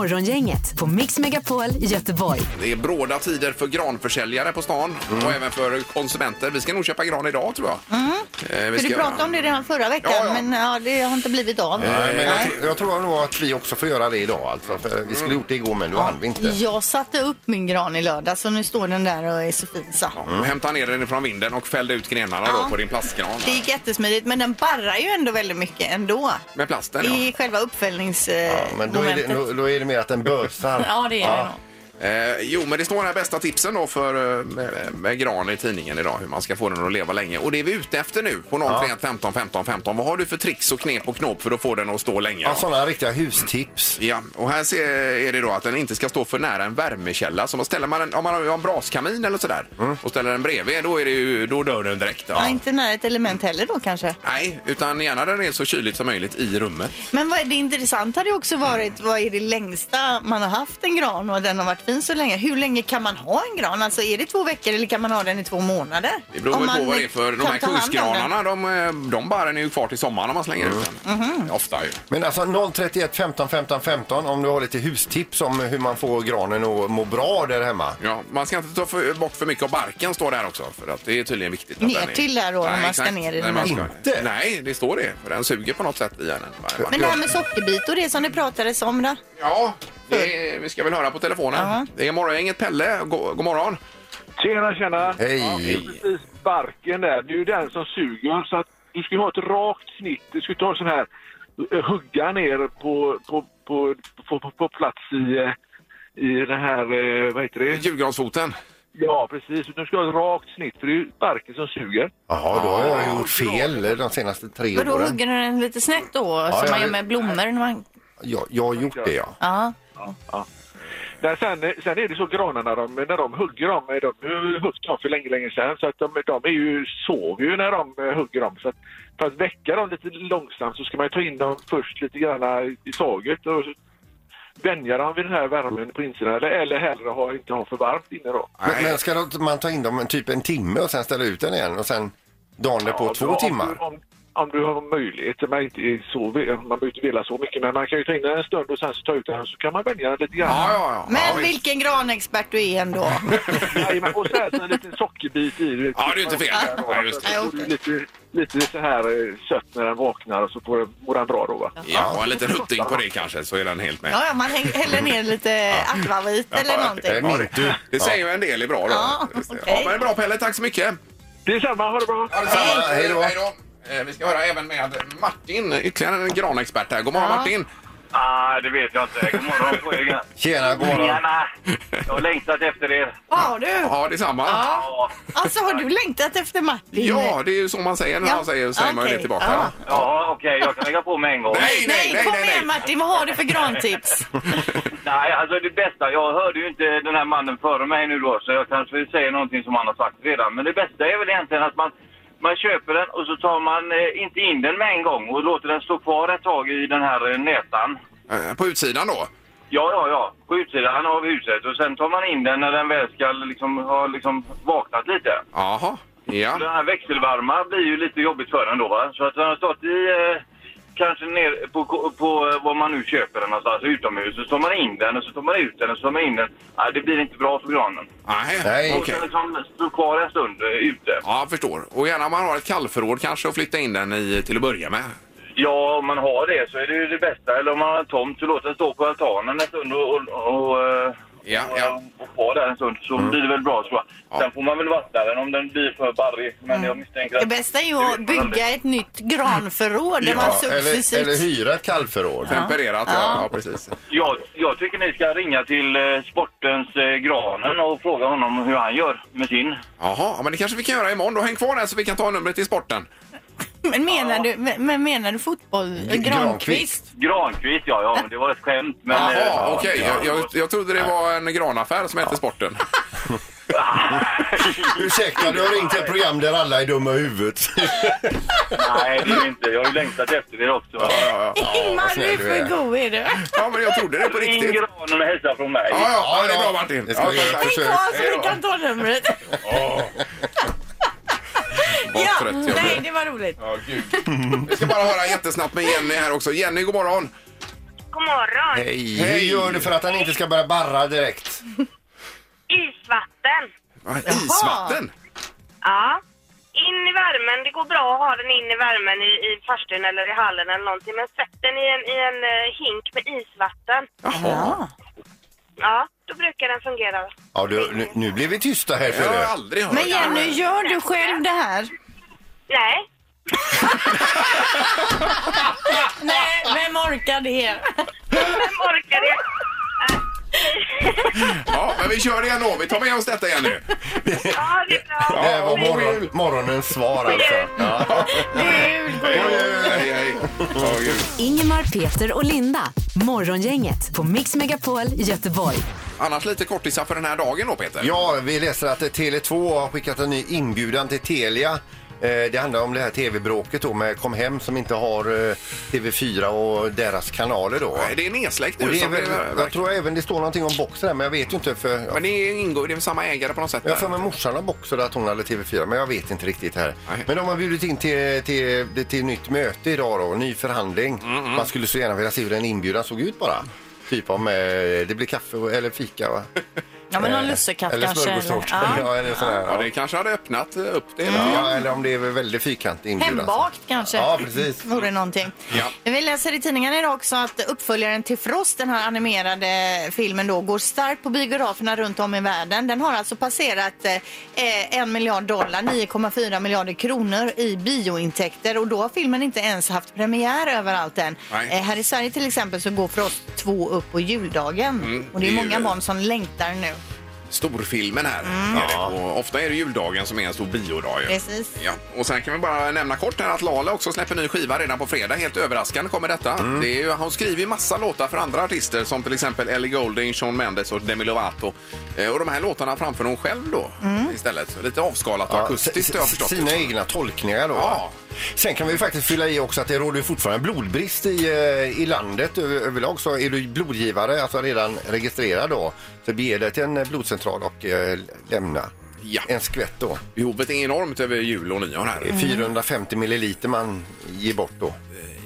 [SPEAKER 5] Morgongänget på Mix Megapol i Göteborg.
[SPEAKER 1] Det är bråda tider för granförsäljare på stan
[SPEAKER 2] Mm.
[SPEAKER 1] och även för konsumenter. Vi ska nog köpa gran idag, tror jag. Eh, vi
[SPEAKER 2] För Mm. du pratade om det redan förra veckan
[SPEAKER 1] Ja, ja.
[SPEAKER 2] men ja, det har inte blivit av.
[SPEAKER 3] Nej, men jag, jag tror nog att vi också får göra det idag. Alltså, för vi skulle gjort det igår men då hann vi inte.
[SPEAKER 2] Jag satte upp min gran i lördag så nu står den där och är så fin så.
[SPEAKER 1] Mm. Hämta ner den från vinden och fällde ut grenarna då
[SPEAKER 2] Ja.
[SPEAKER 1] på din plastgran.
[SPEAKER 2] Det gick jättesmidigt men den barrar ju ändå väldigt mycket ändå.
[SPEAKER 1] Med plasten, ja.
[SPEAKER 2] I själva
[SPEAKER 3] Ja, men då är, det,
[SPEAKER 2] uppfällningsmomentet.
[SPEAKER 3] då, då är det mer att den bösar.
[SPEAKER 4] Ja, det är det nog.
[SPEAKER 1] Eh, jo, men det står här bästa tipsen då för eh, med, med gran i tidningen idag, hur man ska få den att leva länge. Och det är vi ute efter nu på 031 15 15 15. Vad har du för tricks och knep och knåp för att få den att stå länge?
[SPEAKER 3] Ja,
[SPEAKER 1] då?
[SPEAKER 3] sådana riktiga hustips.
[SPEAKER 1] Ja, och här ser, är det då att den inte ska stå för nära en värmekälla. Så man ställer man en, om man har en braskamin eller sådär och ställer den bredvid, då, är det ju, då dör den direkt.
[SPEAKER 2] Ja,
[SPEAKER 1] Ja.
[SPEAKER 2] inte nära ett element heller då kanske.
[SPEAKER 1] Nej, utan gärna den är så kyligt som möjligt i rummet.
[SPEAKER 2] Men vad är det intressanta hade ju också varit, vad är det längsta man har haft en gran och den har varit fin så länge? Hur länge kan man ha en gran? Alltså är det två veckor eller kan man ha den i två månader?
[SPEAKER 1] Det beror
[SPEAKER 2] Om
[SPEAKER 1] väl på
[SPEAKER 2] man
[SPEAKER 1] vad det är för de
[SPEAKER 2] kan
[SPEAKER 1] här
[SPEAKER 2] ta hand om den.
[SPEAKER 1] kungsgranarna. De, eh, de barren är ju kvar till sommaren om man slänger ut den.
[SPEAKER 2] Mm. Mhm.
[SPEAKER 1] Ofta ju.
[SPEAKER 3] Men alltså 031 15 15 15 om du har lite hustips om hur man får granen att må bra där hemma.
[SPEAKER 1] Ja, man ska inte ta för, bort för mycket av barken står det här också. För att det är tydligen viktigt. att
[SPEAKER 2] Ner
[SPEAKER 1] den är-
[SPEAKER 2] till där då, om man ska
[SPEAKER 1] exakt.
[SPEAKER 2] ner i
[SPEAKER 1] Nej,
[SPEAKER 2] den
[SPEAKER 1] man
[SPEAKER 2] här.
[SPEAKER 1] ska-
[SPEAKER 3] Inte?
[SPEAKER 1] Nej, det står det. För den suger på något sätt i hjärnan.
[SPEAKER 2] Men det här med sockerbit och det som det pratades om då?
[SPEAKER 1] Ja, Det är, vi ska väl höra på telefonen. Det är morgongänget Pelle. God, god morgon.
[SPEAKER 8] Tjena, tjena!
[SPEAKER 3] Hej!
[SPEAKER 8] Precis barken där, det är ju den som suger. Så att du ska ju ha ett rakt snitt. Du ska ju ta en sån här, eh, hugga ner på, på, på, på, på, på plats i, eh, i den här, eh, vad heter det?
[SPEAKER 1] Julgransfoten.
[SPEAKER 8] Ja, precis. Du ska ha ett rakt snitt, för det är ju barken som suger.
[SPEAKER 3] Jaha, då har jag gjort fel de senaste tre
[SPEAKER 2] Men då
[SPEAKER 3] åren.
[SPEAKER 2] hugger du den lite snett då, som
[SPEAKER 3] ja,
[SPEAKER 2] man gör
[SPEAKER 3] det-
[SPEAKER 2] med blommor. När man...
[SPEAKER 3] Jag, jag har gjort det, ja.
[SPEAKER 2] Ja.
[SPEAKER 8] Nej, sen, sen är det så granarna, de, när de hugger dem, de hugger dem för länge, länge sedan. Så att de, de är ju, sov ju när de eh, hugger dem. Så att, för att väcka dem lite långsamt så ska man ju ta in dem först lite grann i taget och vänja dem vid den här värmen på insidan. Eller, eller hellre ha, inte ha för varmt inne då.
[SPEAKER 3] Men, men ska då man ta in dem en- typ en timme och sen ställa ut den igen och sen dagen därpå
[SPEAKER 8] Ja,
[SPEAKER 3] två
[SPEAKER 8] om du- Om,
[SPEAKER 3] timmar?
[SPEAKER 8] du- om, om du har möjlighet. Man, är inte så, man behöver inte vilja så mycket men man kan ju ta in den en stund och sen så ta ut den så kan man vänja den lite grann.
[SPEAKER 1] Ja, ja, ja.
[SPEAKER 2] Men
[SPEAKER 1] ja, visst.
[SPEAKER 2] vilken granexpert du är
[SPEAKER 1] <laughs>
[SPEAKER 2] ändå.
[SPEAKER 8] Jajamän, och så äter en liten sockerbit i. du vet.
[SPEAKER 1] Ja, det är inte fel. Ja, just det.
[SPEAKER 8] Så får du lite, lite så här eh, sött när den vaknar och så får den- mår den bra då va?
[SPEAKER 1] Ja, och en liten hutting på det kanske så är den helt med.
[SPEAKER 2] Ja, ja, man häng- häller ner lite akvavit eller
[SPEAKER 1] Ja,
[SPEAKER 2] någonting.
[SPEAKER 1] det- Det säger ju en del är bra då.
[SPEAKER 2] Ja,
[SPEAKER 1] Just det. ja,
[SPEAKER 2] okej.
[SPEAKER 1] men det är bra Pelle, tack så mycket.
[SPEAKER 8] Detsamma, ha det bra!
[SPEAKER 1] Detsamma.
[SPEAKER 3] Hej. Hej då.
[SPEAKER 1] Eh, Vi ska höra även med Martin, ytterligare en granexpert här. God morgon Martin!
[SPEAKER 9] Ah, det vet jag inte. God morgon på er.
[SPEAKER 3] Tjena, god morgon.
[SPEAKER 9] Tjena! Jag har längtat efter er.
[SPEAKER 2] Har du?
[SPEAKER 1] Ja, detsamma.
[SPEAKER 9] Ja,
[SPEAKER 2] Alltså har du längtat efter Martin?
[SPEAKER 1] Ja, det är ju så man säger när
[SPEAKER 2] Ja.
[SPEAKER 1] han säger, säger man ju det
[SPEAKER 2] Okej.
[SPEAKER 1] tillbaka.
[SPEAKER 2] Ja.
[SPEAKER 1] va?
[SPEAKER 9] ja okej, jag kan lägga på med en gång.
[SPEAKER 1] Nej, nej,
[SPEAKER 2] Nej,
[SPEAKER 1] nej,
[SPEAKER 2] kom
[SPEAKER 1] nej, nej.
[SPEAKER 2] igen Martin, vad har du för grantips?
[SPEAKER 9] Nej, alltså det bästa, jag hörde ju inte den här mannen före mig nu då, så jag kanske säger någonting som han har sagt redan. Men det bästa är väl egentligen att man, man köper den och så tar man eh, inte in den med en gång och låter den stå kvar ett tag i den här eh, nätan.
[SPEAKER 1] Eh, På utsidan då?
[SPEAKER 9] Ja, ja, ja. På utsidan av huset. Och sen tar man in den när den väl ska liksom, ha liksom vaknat lite.
[SPEAKER 1] Jaha. Ja.
[SPEAKER 9] Den här växelvarma blir ju lite jobbigt för den då va? Så att den har stått i eh, kanske ner på, på, eh, vad man nu köper den någonstans utomhus. Så tar man in den och så tar man ut den och så tar man in den. Nej, det blir inte bra för granen.
[SPEAKER 1] Nej,
[SPEAKER 3] Nej.
[SPEAKER 1] okej.
[SPEAKER 9] Och sen liksom stå kvar en stund eh, ute.
[SPEAKER 1] Ja, jag förstår. Och gärna om man har ett kallförråd kanske och flytta in den i till att börja med.
[SPEAKER 9] Ja, om man har det så är det ju det bästa. Eller om man har en tomt så låt den stå på altanen en stund och, och, och, eh,
[SPEAKER 1] Ja,
[SPEAKER 9] och,
[SPEAKER 1] ja. Mm.
[SPEAKER 9] och kvar där en stund. Så blir det väl bra tror jag. Sen får man väl vattna den om den blir för barrig. Men jag misstänker
[SPEAKER 2] Mm. Det
[SPEAKER 9] att...
[SPEAKER 2] bästa är ju att bygga ett nytt granförråd där man
[SPEAKER 3] Ja, eller, eller
[SPEAKER 2] successivt...
[SPEAKER 3] hyra ett kallförråd.
[SPEAKER 1] Tempererat, ja. ja precis.
[SPEAKER 9] Jag, jag tycker ni ska ringa till eh, sportens eh, granen och fråga honom hur han gör med sin.
[SPEAKER 1] Jaha, ja, men det kanske vi kan göra imorgon. Då häng kvar där så vi kan ta numret till sporten.
[SPEAKER 2] Men menar du, men menar du fotboll? Granqvist?
[SPEAKER 9] Granqvist, ja, ja, men det var ett skämt. Men,
[SPEAKER 1] Jaha,
[SPEAKER 9] eh,
[SPEAKER 1] okej.
[SPEAKER 9] ja,
[SPEAKER 1] Jag, jag, jag trodde det var en granaffär som hette sporten.
[SPEAKER 3] Ursäkta, du har ringt ett program där alla är dumma i huvudet. <laughs>
[SPEAKER 9] Nej, det är det inte. Jag har ju längtat efter det också.
[SPEAKER 1] Ja, ja.
[SPEAKER 2] Ingmar, du är
[SPEAKER 3] snäll du är.
[SPEAKER 2] för god är du.
[SPEAKER 1] ja, men jag trodde det på
[SPEAKER 9] Ring
[SPEAKER 1] riktigt. Ja,
[SPEAKER 9] granen och hälsa från mig.
[SPEAKER 1] ja, ja, det är bra Martin.
[SPEAKER 3] Det ska vi
[SPEAKER 1] Ja,
[SPEAKER 3] göra.
[SPEAKER 1] tack.
[SPEAKER 2] Häng
[SPEAKER 3] Försök.
[SPEAKER 2] kvar så
[SPEAKER 1] Hej
[SPEAKER 2] vi
[SPEAKER 1] då.
[SPEAKER 2] kan ta numret.
[SPEAKER 1] Vad
[SPEAKER 2] Ja,
[SPEAKER 1] trött jag
[SPEAKER 2] nej,
[SPEAKER 1] blev.
[SPEAKER 2] det var roligt.
[SPEAKER 1] Ja, gud. Vi ska bara höra jättesnabbt med Jenny här också. Jenny, god morgon.
[SPEAKER 7] God morgon!
[SPEAKER 3] Hej. Hur gör du för att han inte ska börja barra direkt?
[SPEAKER 7] Isvatten!
[SPEAKER 1] Ah, Isvatten?
[SPEAKER 7] Ja. In i värmen. Det går bra att ha den in i värmen i, i farstun eller i hallen eller någonting. Men sätt den i en, i en eh, hink med isvatten.
[SPEAKER 1] Jaha.
[SPEAKER 7] Ja, då brukar den fungera.
[SPEAKER 3] Ja, du, nu, nu blir vi tysta här
[SPEAKER 1] Det har jag
[SPEAKER 3] för
[SPEAKER 1] aldrig hört.
[SPEAKER 2] Men Jenny, gör du själv det här?
[SPEAKER 7] Nej,
[SPEAKER 2] <laughs> Nej, vem orkar det?
[SPEAKER 7] vem orkar det?
[SPEAKER 1] Ja, men vi kör igen då. Vi tar med oss detta igen nu.
[SPEAKER 7] Ja, det är
[SPEAKER 3] det.
[SPEAKER 7] bra.
[SPEAKER 3] Det här var
[SPEAKER 1] Ja, god
[SPEAKER 3] morgon,
[SPEAKER 1] jul.
[SPEAKER 3] morgonens svar alltså. Ja.
[SPEAKER 1] Hej, hej. Ja, gud.
[SPEAKER 5] Ingemar, Peter och Linda. Morgongänget på Mix Megapol Göteborg.
[SPEAKER 1] Annars lite kortisar för den här dagen då, Peter.
[SPEAKER 3] Ja, vi läser att Tele2 har skickat en ny inbjudan till Telia. Eh, Det handlar om det här tv-bråket då med Kom Hem som inte har eh, TV4 och deras kanaler då.
[SPEAKER 1] Nej, Det är nedsläckt
[SPEAKER 3] Och
[SPEAKER 1] nu.
[SPEAKER 3] det är
[SPEAKER 1] som
[SPEAKER 3] väl,
[SPEAKER 1] det
[SPEAKER 3] jag
[SPEAKER 1] verkar.
[SPEAKER 3] tror även det står någonting om Boxer där, men jag vet ju inte för...
[SPEAKER 1] Men det ingår, det är väl samma ägare på något sätt?
[SPEAKER 3] Jag har
[SPEAKER 1] där.
[SPEAKER 3] för mig morsan har Boxer att hon hade TV4, men jag vet inte riktigt här.
[SPEAKER 1] Nej.
[SPEAKER 3] Men de har bjudit in till, till, till, till nytt möte idag då, ny förhandling.
[SPEAKER 1] Mm,
[SPEAKER 3] Man skulle så gärna vilja se hur den inbjudan såg ut bara. Typ om eh, det blir kaffe och- eller fika va?
[SPEAKER 4] Ja, men någon lussekatt
[SPEAKER 3] eller
[SPEAKER 4] kanske, eller-
[SPEAKER 3] smörgåstårta.
[SPEAKER 4] ja.
[SPEAKER 3] <laughs> Ja, eller sådär.
[SPEAKER 1] Ja,
[SPEAKER 3] Ja.
[SPEAKER 1] det kanske hade öppnat eh, upp det.
[SPEAKER 3] Ja, eller om det är väldigt fyrkantig inbjudan.
[SPEAKER 2] Hembakt kanske?
[SPEAKER 3] Ja, precis.
[SPEAKER 2] Vore någonting.
[SPEAKER 1] Ja.
[SPEAKER 2] Vi läser i tidningen idag också att uppföljaren till Frost, den här animerade filmen då, går starkt på biograferna runt om i världen. Den har alltså passerat eh, 1 miljard dollar, 9,4 miljarder kronor i biointäkter och då har filmen inte ens haft premiär överallt än.
[SPEAKER 1] Nej.
[SPEAKER 2] Eh, här i Sverige till exempel så går Frost 2 upp på juldagen och det är
[SPEAKER 1] Mm, det är
[SPEAKER 2] många
[SPEAKER 1] ju-
[SPEAKER 2] barn som längtar nu.
[SPEAKER 1] Storfilmen här.
[SPEAKER 3] Mm.
[SPEAKER 1] är det. Och ofta är det juldagen som är en stor biodag. Ju.
[SPEAKER 2] Precis.
[SPEAKER 1] Ja. Och sen kan vi bara nämna kort här att Lala också släpper ny skiva redan på fredag. Helt överraskande kommer detta.
[SPEAKER 3] Mm.
[SPEAKER 1] Det är ju, hon skriver ju massa låtar för andra artister som till exempel Ellie Goulding, Shawn Mendes och Demi Lovato. Eh, och de här låtarna framför hon själv då istället. Så Lite avskalat och
[SPEAKER 3] Mm. Ja,
[SPEAKER 1] akustiskt har jag förstått.
[SPEAKER 3] Sina egna tolkningar då.
[SPEAKER 1] Ja.
[SPEAKER 3] Sen kan vi ju faktiskt fylla i också att det råder ju fortfarande blodbrist i, eh, i landet över- överlag. Så är du blodgivare, alltså redan registrerad då, så bege dig till en eh, blodcentral och eh, lämna
[SPEAKER 1] Ja.
[SPEAKER 3] en skvätt då.
[SPEAKER 1] Behovet är enormt över jul och nyår här.
[SPEAKER 3] Det är 450 milliliter man ger bort då.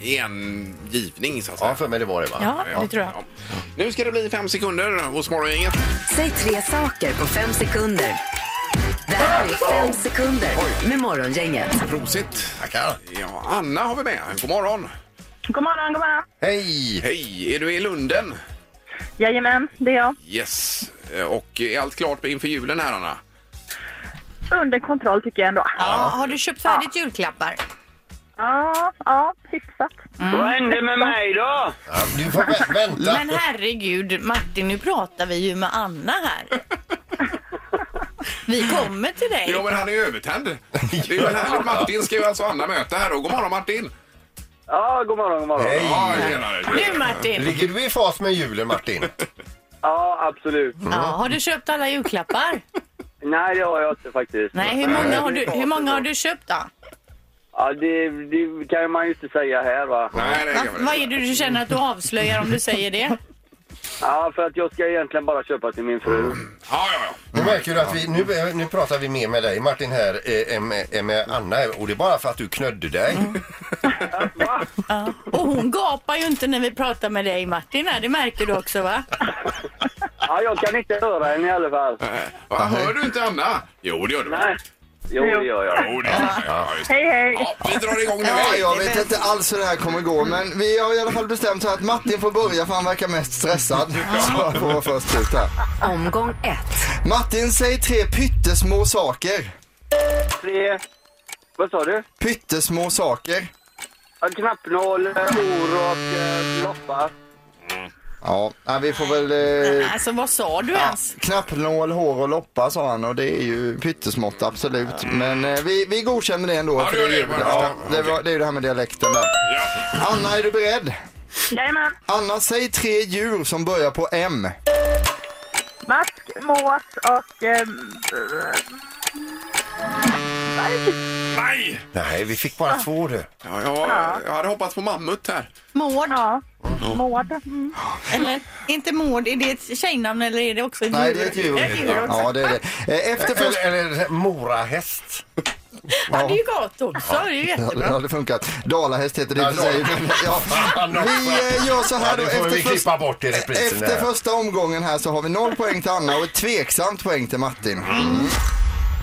[SPEAKER 1] I en givning så att säga.
[SPEAKER 3] Ja, för mig det var det va?
[SPEAKER 4] Ja, det tror jag.
[SPEAKER 1] Ja. Nu ska det bli fem sekunder hos Morgongänget.
[SPEAKER 5] Säg tre saker på fem sekunder. Det här är fem sekunder med Morgongänget.
[SPEAKER 1] Prosit! Tackar! Ja, Anna har vi med. God morgon!
[SPEAKER 7] God morgon, god morgon.
[SPEAKER 3] Hej!
[SPEAKER 1] Hej! Är du i Lunden?
[SPEAKER 7] Jajamän, det är jag.
[SPEAKER 1] Yes! Eh, Och är allt klart inför julen här, Anna?
[SPEAKER 7] Under kontroll tycker jag ändå.
[SPEAKER 2] Ja, har du köpt färdigt julklappar?
[SPEAKER 7] Ja, ja, hyfsat.
[SPEAKER 9] Vad hände med mig då?
[SPEAKER 3] Ja, du får vä- vänta.
[SPEAKER 2] Men herregud Martin, nu pratar vi ju med Anna här. Vi kommer till dig.
[SPEAKER 1] <laughs> Ja, men han är ju övertänd. Det är ju här Martin ska ju alltså Anna möta här. Och god morgon, Martin!
[SPEAKER 9] Ja, god morgon, god morgon.
[SPEAKER 3] Hej!
[SPEAKER 1] Ja, tjenare!
[SPEAKER 4] Du Martin,
[SPEAKER 3] Ligger du i fas med julen Martin?
[SPEAKER 9] Ja, absolut.
[SPEAKER 4] ja, har du köpt alla julklappar?
[SPEAKER 9] Nej, det har jag inte faktiskt.
[SPEAKER 4] Nej, hur många har du, hur många har du köpt då?
[SPEAKER 9] Ja, det, det kan man ju inte säga här va.
[SPEAKER 1] Nej, det
[SPEAKER 4] Va,
[SPEAKER 1] kan
[SPEAKER 4] vad
[SPEAKER 1] man
[SPEAKER 4] är
[SPEAKER 1] inte.
[SPEAKER 4] det du känner att du avslöjar om du säger det?
[SPEAKER 9] Ja, för att jag ska egentligen bara köpa till min fru.
[SPEAKER 1] Ja, ja,
[SPEAKER 3] Nu märker du att vi, nu, nu pratar vi mer med dig Martin här eh, än med- än med Anna och det är bara för att du knödde dig.
[SPEAKER 9] Va?
[SPEAKER 4] Ja. Och hon gapar ju inte när vi pratar med dig Martin här, det märker du också va?
[SPEAKER 9] Ja, jag kan inte höra henne i alla fall.
[SPEAKER 1] ja. Eh, va, Hör du inte Anna? Jo, det gör du.
[SPEAKER 9] Nej. Jo, det gör jag.
[SPEAKER 1] Jo, det gör du. Ja, just det.
[SPEAKER 7] Hej, hej.
[SPEAKER 1] Ja, vi drar igång nu.
[SPEAKER 6] Ja, jag vet inte alls hur det här kommer gå, men vi har i alla fall bestämt så att Martin får börja för han verkar mest stressad. Så han får vara först ut här.
[SPEAKER 5] Omgång ett.
[SPEAKER 6] Martin, säg tre pyttesmå saker.
[SPEAKER 9] Tre... Vad sa du?
[SPEAKER 6] Pyttesmå saker.
[SPEAKER 9] Ja, Knappnål, eh, hor och eh, loppar.
[SPEAKER 6] Ja, nej, vi får väl... Eh,
[SPEAKER 4] Alltså vad sa du ens?
[SPEAKER 6] Knappnål, hår och loppa sa han och det är ju pyttesmått absolut. Men eh, vi, vi godkänner det ändå.
[SPEAKER 1] Ja,
[SPEAKER 6] för
[SPEAKER 1] det gör
[SPEAKER 6] är ju-
[SPEAKER 1] det.
[SPEAKER 6] ja, det, var, det är ju det här med dialekten där. Anna, är du beredd?
[SPEAKER 7] Jajamän.
[SPEAKER 6] Anna, säg tre djur som börjar på M.
[SPEAKER 7] Mask, mås och... ehm,
[SPEAKER 1] Nej!
[SPEAKER 3] Nej, vi fick bara två du.
[SPEAKER 1] Ja, jag, jag hade hoppats på mammut här.
[SPEAKER 2] Mård.
[SPEAKER 7] ja, mård. Mm.
[SPEAKER 4] Eller?
[SPEAKER 2] Inte Mård, är det ett tjejnamn eller är det också ett
[SPEAKER 6] Nej, det är ett djur. Ja, det är det. Eh, Efter först...
[SPEAKER 3] Eller, eller morahäst.
[SPEAKER 4] Ja, det är ju gott också, det är ju
[SPEAKER 6] Ja, det
[SPEAKER 4] jättebra.
[SPEAKER 6] hade funkat. Dalahäst heter det i och för
[SPEAKER 3] Ja,
[SPEAKER 6] sig.
[SPEAKER 3] Dala-
[SPEAKER 6] men, Ja, vi eh, gör så här då.
[SPEAKER 3] Ja, det får vi
[SPEAKER 6] först-
[SPEAKER 3] klippa bort i reprisen
[SPEAKER 6] efter
[SPEAKER 3] här.
[SPEAKER 6] första omgången här så har vi noll poäng till Anna och ett tveksamt poäng till Martin.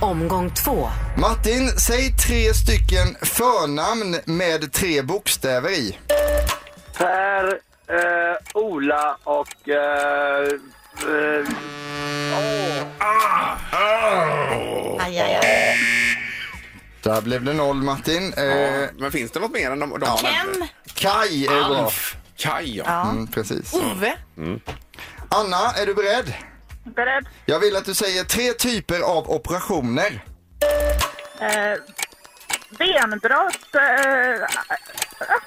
[SPEAKER 5] Omgång två.
[SPEAKER 6] Martin, säg tre stycken förnamn med tre bokstäver i.
[SPEAKER 9] Per, eh, Ola och... Eh, eh,
[SPEAKER 3] Ah!
[SPEAKER 2] Aj, aj, aj.
[SPEAKER 6] Där blev det noll Martin. Eh,
[SPEAKER 1] Men finns det något mer än de, de man nämnde?
[SPEAKER 4] Ken,
[SPEAKER 6] Kaj är bra.
[SPEAKER 3] Alf.
[SPEAKER 1] Kaj, ja.
[SPEAKER 6] Mm, precis.
[SPEAKER 4] Ove,
[SPEAKER 6] Anna, är du beredd?
[SPEAKER 7] Beredd.
[SPEAKER 6] Jag vill att du säger tre typer av operationer.
[SPEAKER 7] Eh, benbrott. Eh, ah,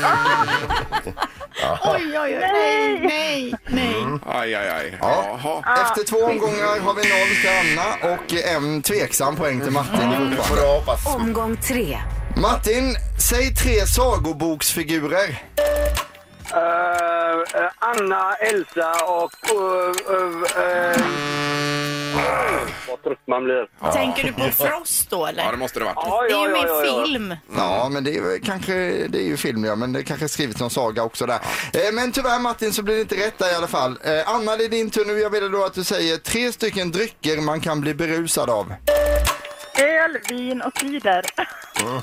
[SPEAKER 7] fan.
[SPEAKER 2] Oj, oj, oj. Nej, nej, nej.
[SPEAKER 1] Aj, aj, aj.
[SPEAKER 6] Ja.
[SPEAKER 1] Jaha.
[SPEAKER 6] Efter två omgångar har vi noll till Anna och en tveksam poäng till Martin.
[SPEAKER 3] Får
[SPEAKER 6] fortfarande.
[SPEAKER 3] jag hoppas.
[SPEAKER 5] Omgång tre.
[SPEAKER 6] Martin, säg tre sagoboksfigurer.
[SPEAKER 9] eh, eh, Anna, Elsa och... eh, eh, eh,
[SPEAKER 10] Vad trött man blir.
[SPEAKER 4] Tänker du på Frost då eller?
[SPEAKER 1] Ja, det måste det ha varit.
[SPEAKER 10] Ja,
[SPEAKER 4] Det
[SPEAKER 10] ja,
[SPEAKER 4] är ju
[SPEAKER 10] ja,
[SPEAKER 4] min
[SPEAKER 10] ja, ja.
[SPEAKER 4] film.
[SPEAKER 6] Ja, men det är, väl kanske, det är ju film ja, men det kanske skrivits någon saga också där. Eh, men tyvärr Martin så blir det inte rätt där i alla fall. Eh, Anna, det är din tur nu. Jag vill då att du säger tre stycken drycker man kan bli berusad av.
[SPEAKER 7] Öl, vin och cider.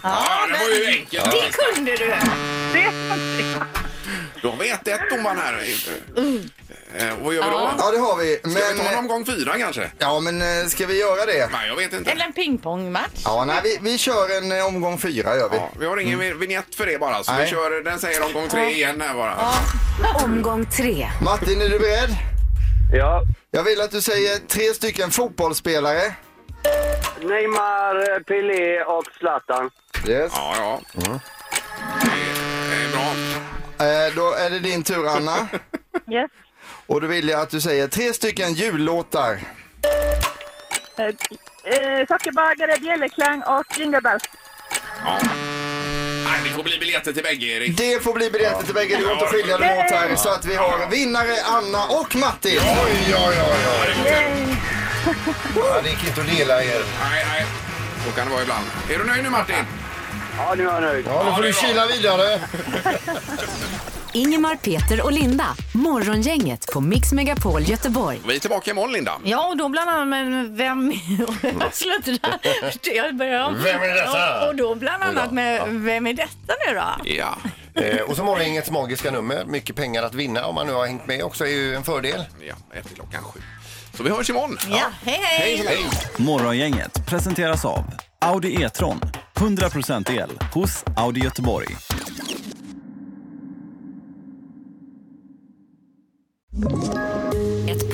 [SPEAKER 1] Ja, det var ju enkelt.
[SPEAKER 4] Det kunde du!
[SPEAKER 7] Det är
[SPEAKER 1] Då har vi 1-1 domaren här. Eh, Vad gör vi då?
[SPEAKER 6] Ja, det har vi.
[SPEAKER 1] Ska vi ta en
[SPEAKER 6] Men,
[SPEAKER 1] omgång fyra kanske?
[SPEAKER 6] ja, men eh, ska vi göra det?
[SPEAKER 1] Nej, jag vet inte.
[SPEAKER 4] Eller en pingpongmatch.
[SPEAKER 6] Ja, nej, vi, vi kör en eh, omgång fyra gör vi.
[SPEAKER 1] Ja, vi har ingen mm. vignett för det bara, så vi
[SPEAKER 6] Nej.
[SPEAKER 1] kör den säger omgång tre igen här bara.
[SPEAKER 5] Omgång tre.
[SPEAKER 6] Martin, är du beredd?
[SPEAKER 10] Ja.
[SPEAKER 6] Jag vill att du säger tre stycken fotbollsspelare.
[SPEAKER 9] eh,
[SPEAKER 10] Neymar, Pelé och Zlatan.
[SPEAKER 6] Yes.
[SPEAKER 1] Ja, ja.
[SPEAKER 3] Mm.
[SPEAKER 1] Det är bra.
[SPEAKER 6] Eh, då är det din tur
[SPEAKER 1] <laughs>
[SPEAKER 6] Anna.
[SPEAKER 7] yes.
[SPEAKER 6] Och då vill jag att du säger tre stycken jullåtar.
[SPEAKER 7] Eh, eh, Sockerbagare, bjällerklang och jinglebass.
[SPEAKER 1] Ja. Nej, det får bli biljetter till bägge, Erik.
[SPEAKER 6] Det får bli biljetter till bägge. Det går inte att skilja dem åt här. Så att vi har vinnare Anna och Matti.
[SPEAKER 3] Oj, oj, oj, oj. Ja, det gick inte att dela er.
[SPEAKER 1] Nej, nej. Så kan det vara ibland. Är du nöjd nu, Martin?
[SPEAKER 10] Ja, nu är jag nöjd.
[SPEAKER 3] Ja, nu får
[SPEAKER 1] det
[SPEAKER 3] du
[SPEAKER 1] är bra.
[SPEAKER 3] kila vidare.
[SPEAKER 5] Ingemar, Peter och Linda. Morgongänget på Mix Megapol Göteborg.
[SPEAKER 1] Vi är tillbaka imorgon, Linda.
[SPEAKER 2] Ja, och då bland annat med vem...
[SPEAKER 4] <laughs>
[SPEAKER 2] Sluta! Jag börjar om.
[SPEAKER 3] Vem är detta?
[SPEAKER 4] Och, och då bland annat med Vem är detta nu då?
[SPEAKER 1] Ja,
[SPEAKER 3] Eh, och så morgongängets magiska nummer. Mycket pengar att vinna om man nu har hängt med också är ju en fördel.
[SPEAKER 1] ja efter klockan sju. Så vi hörs imorgon.
[SPEAKER 4] Ja, hej hej!
[SPEAKER 1] Hej.
[SPEAKER 11] Morgongänget presenteras av Audi E-tron. 100% el hos Audi Göteborg.
[SPEAKER 5] Ett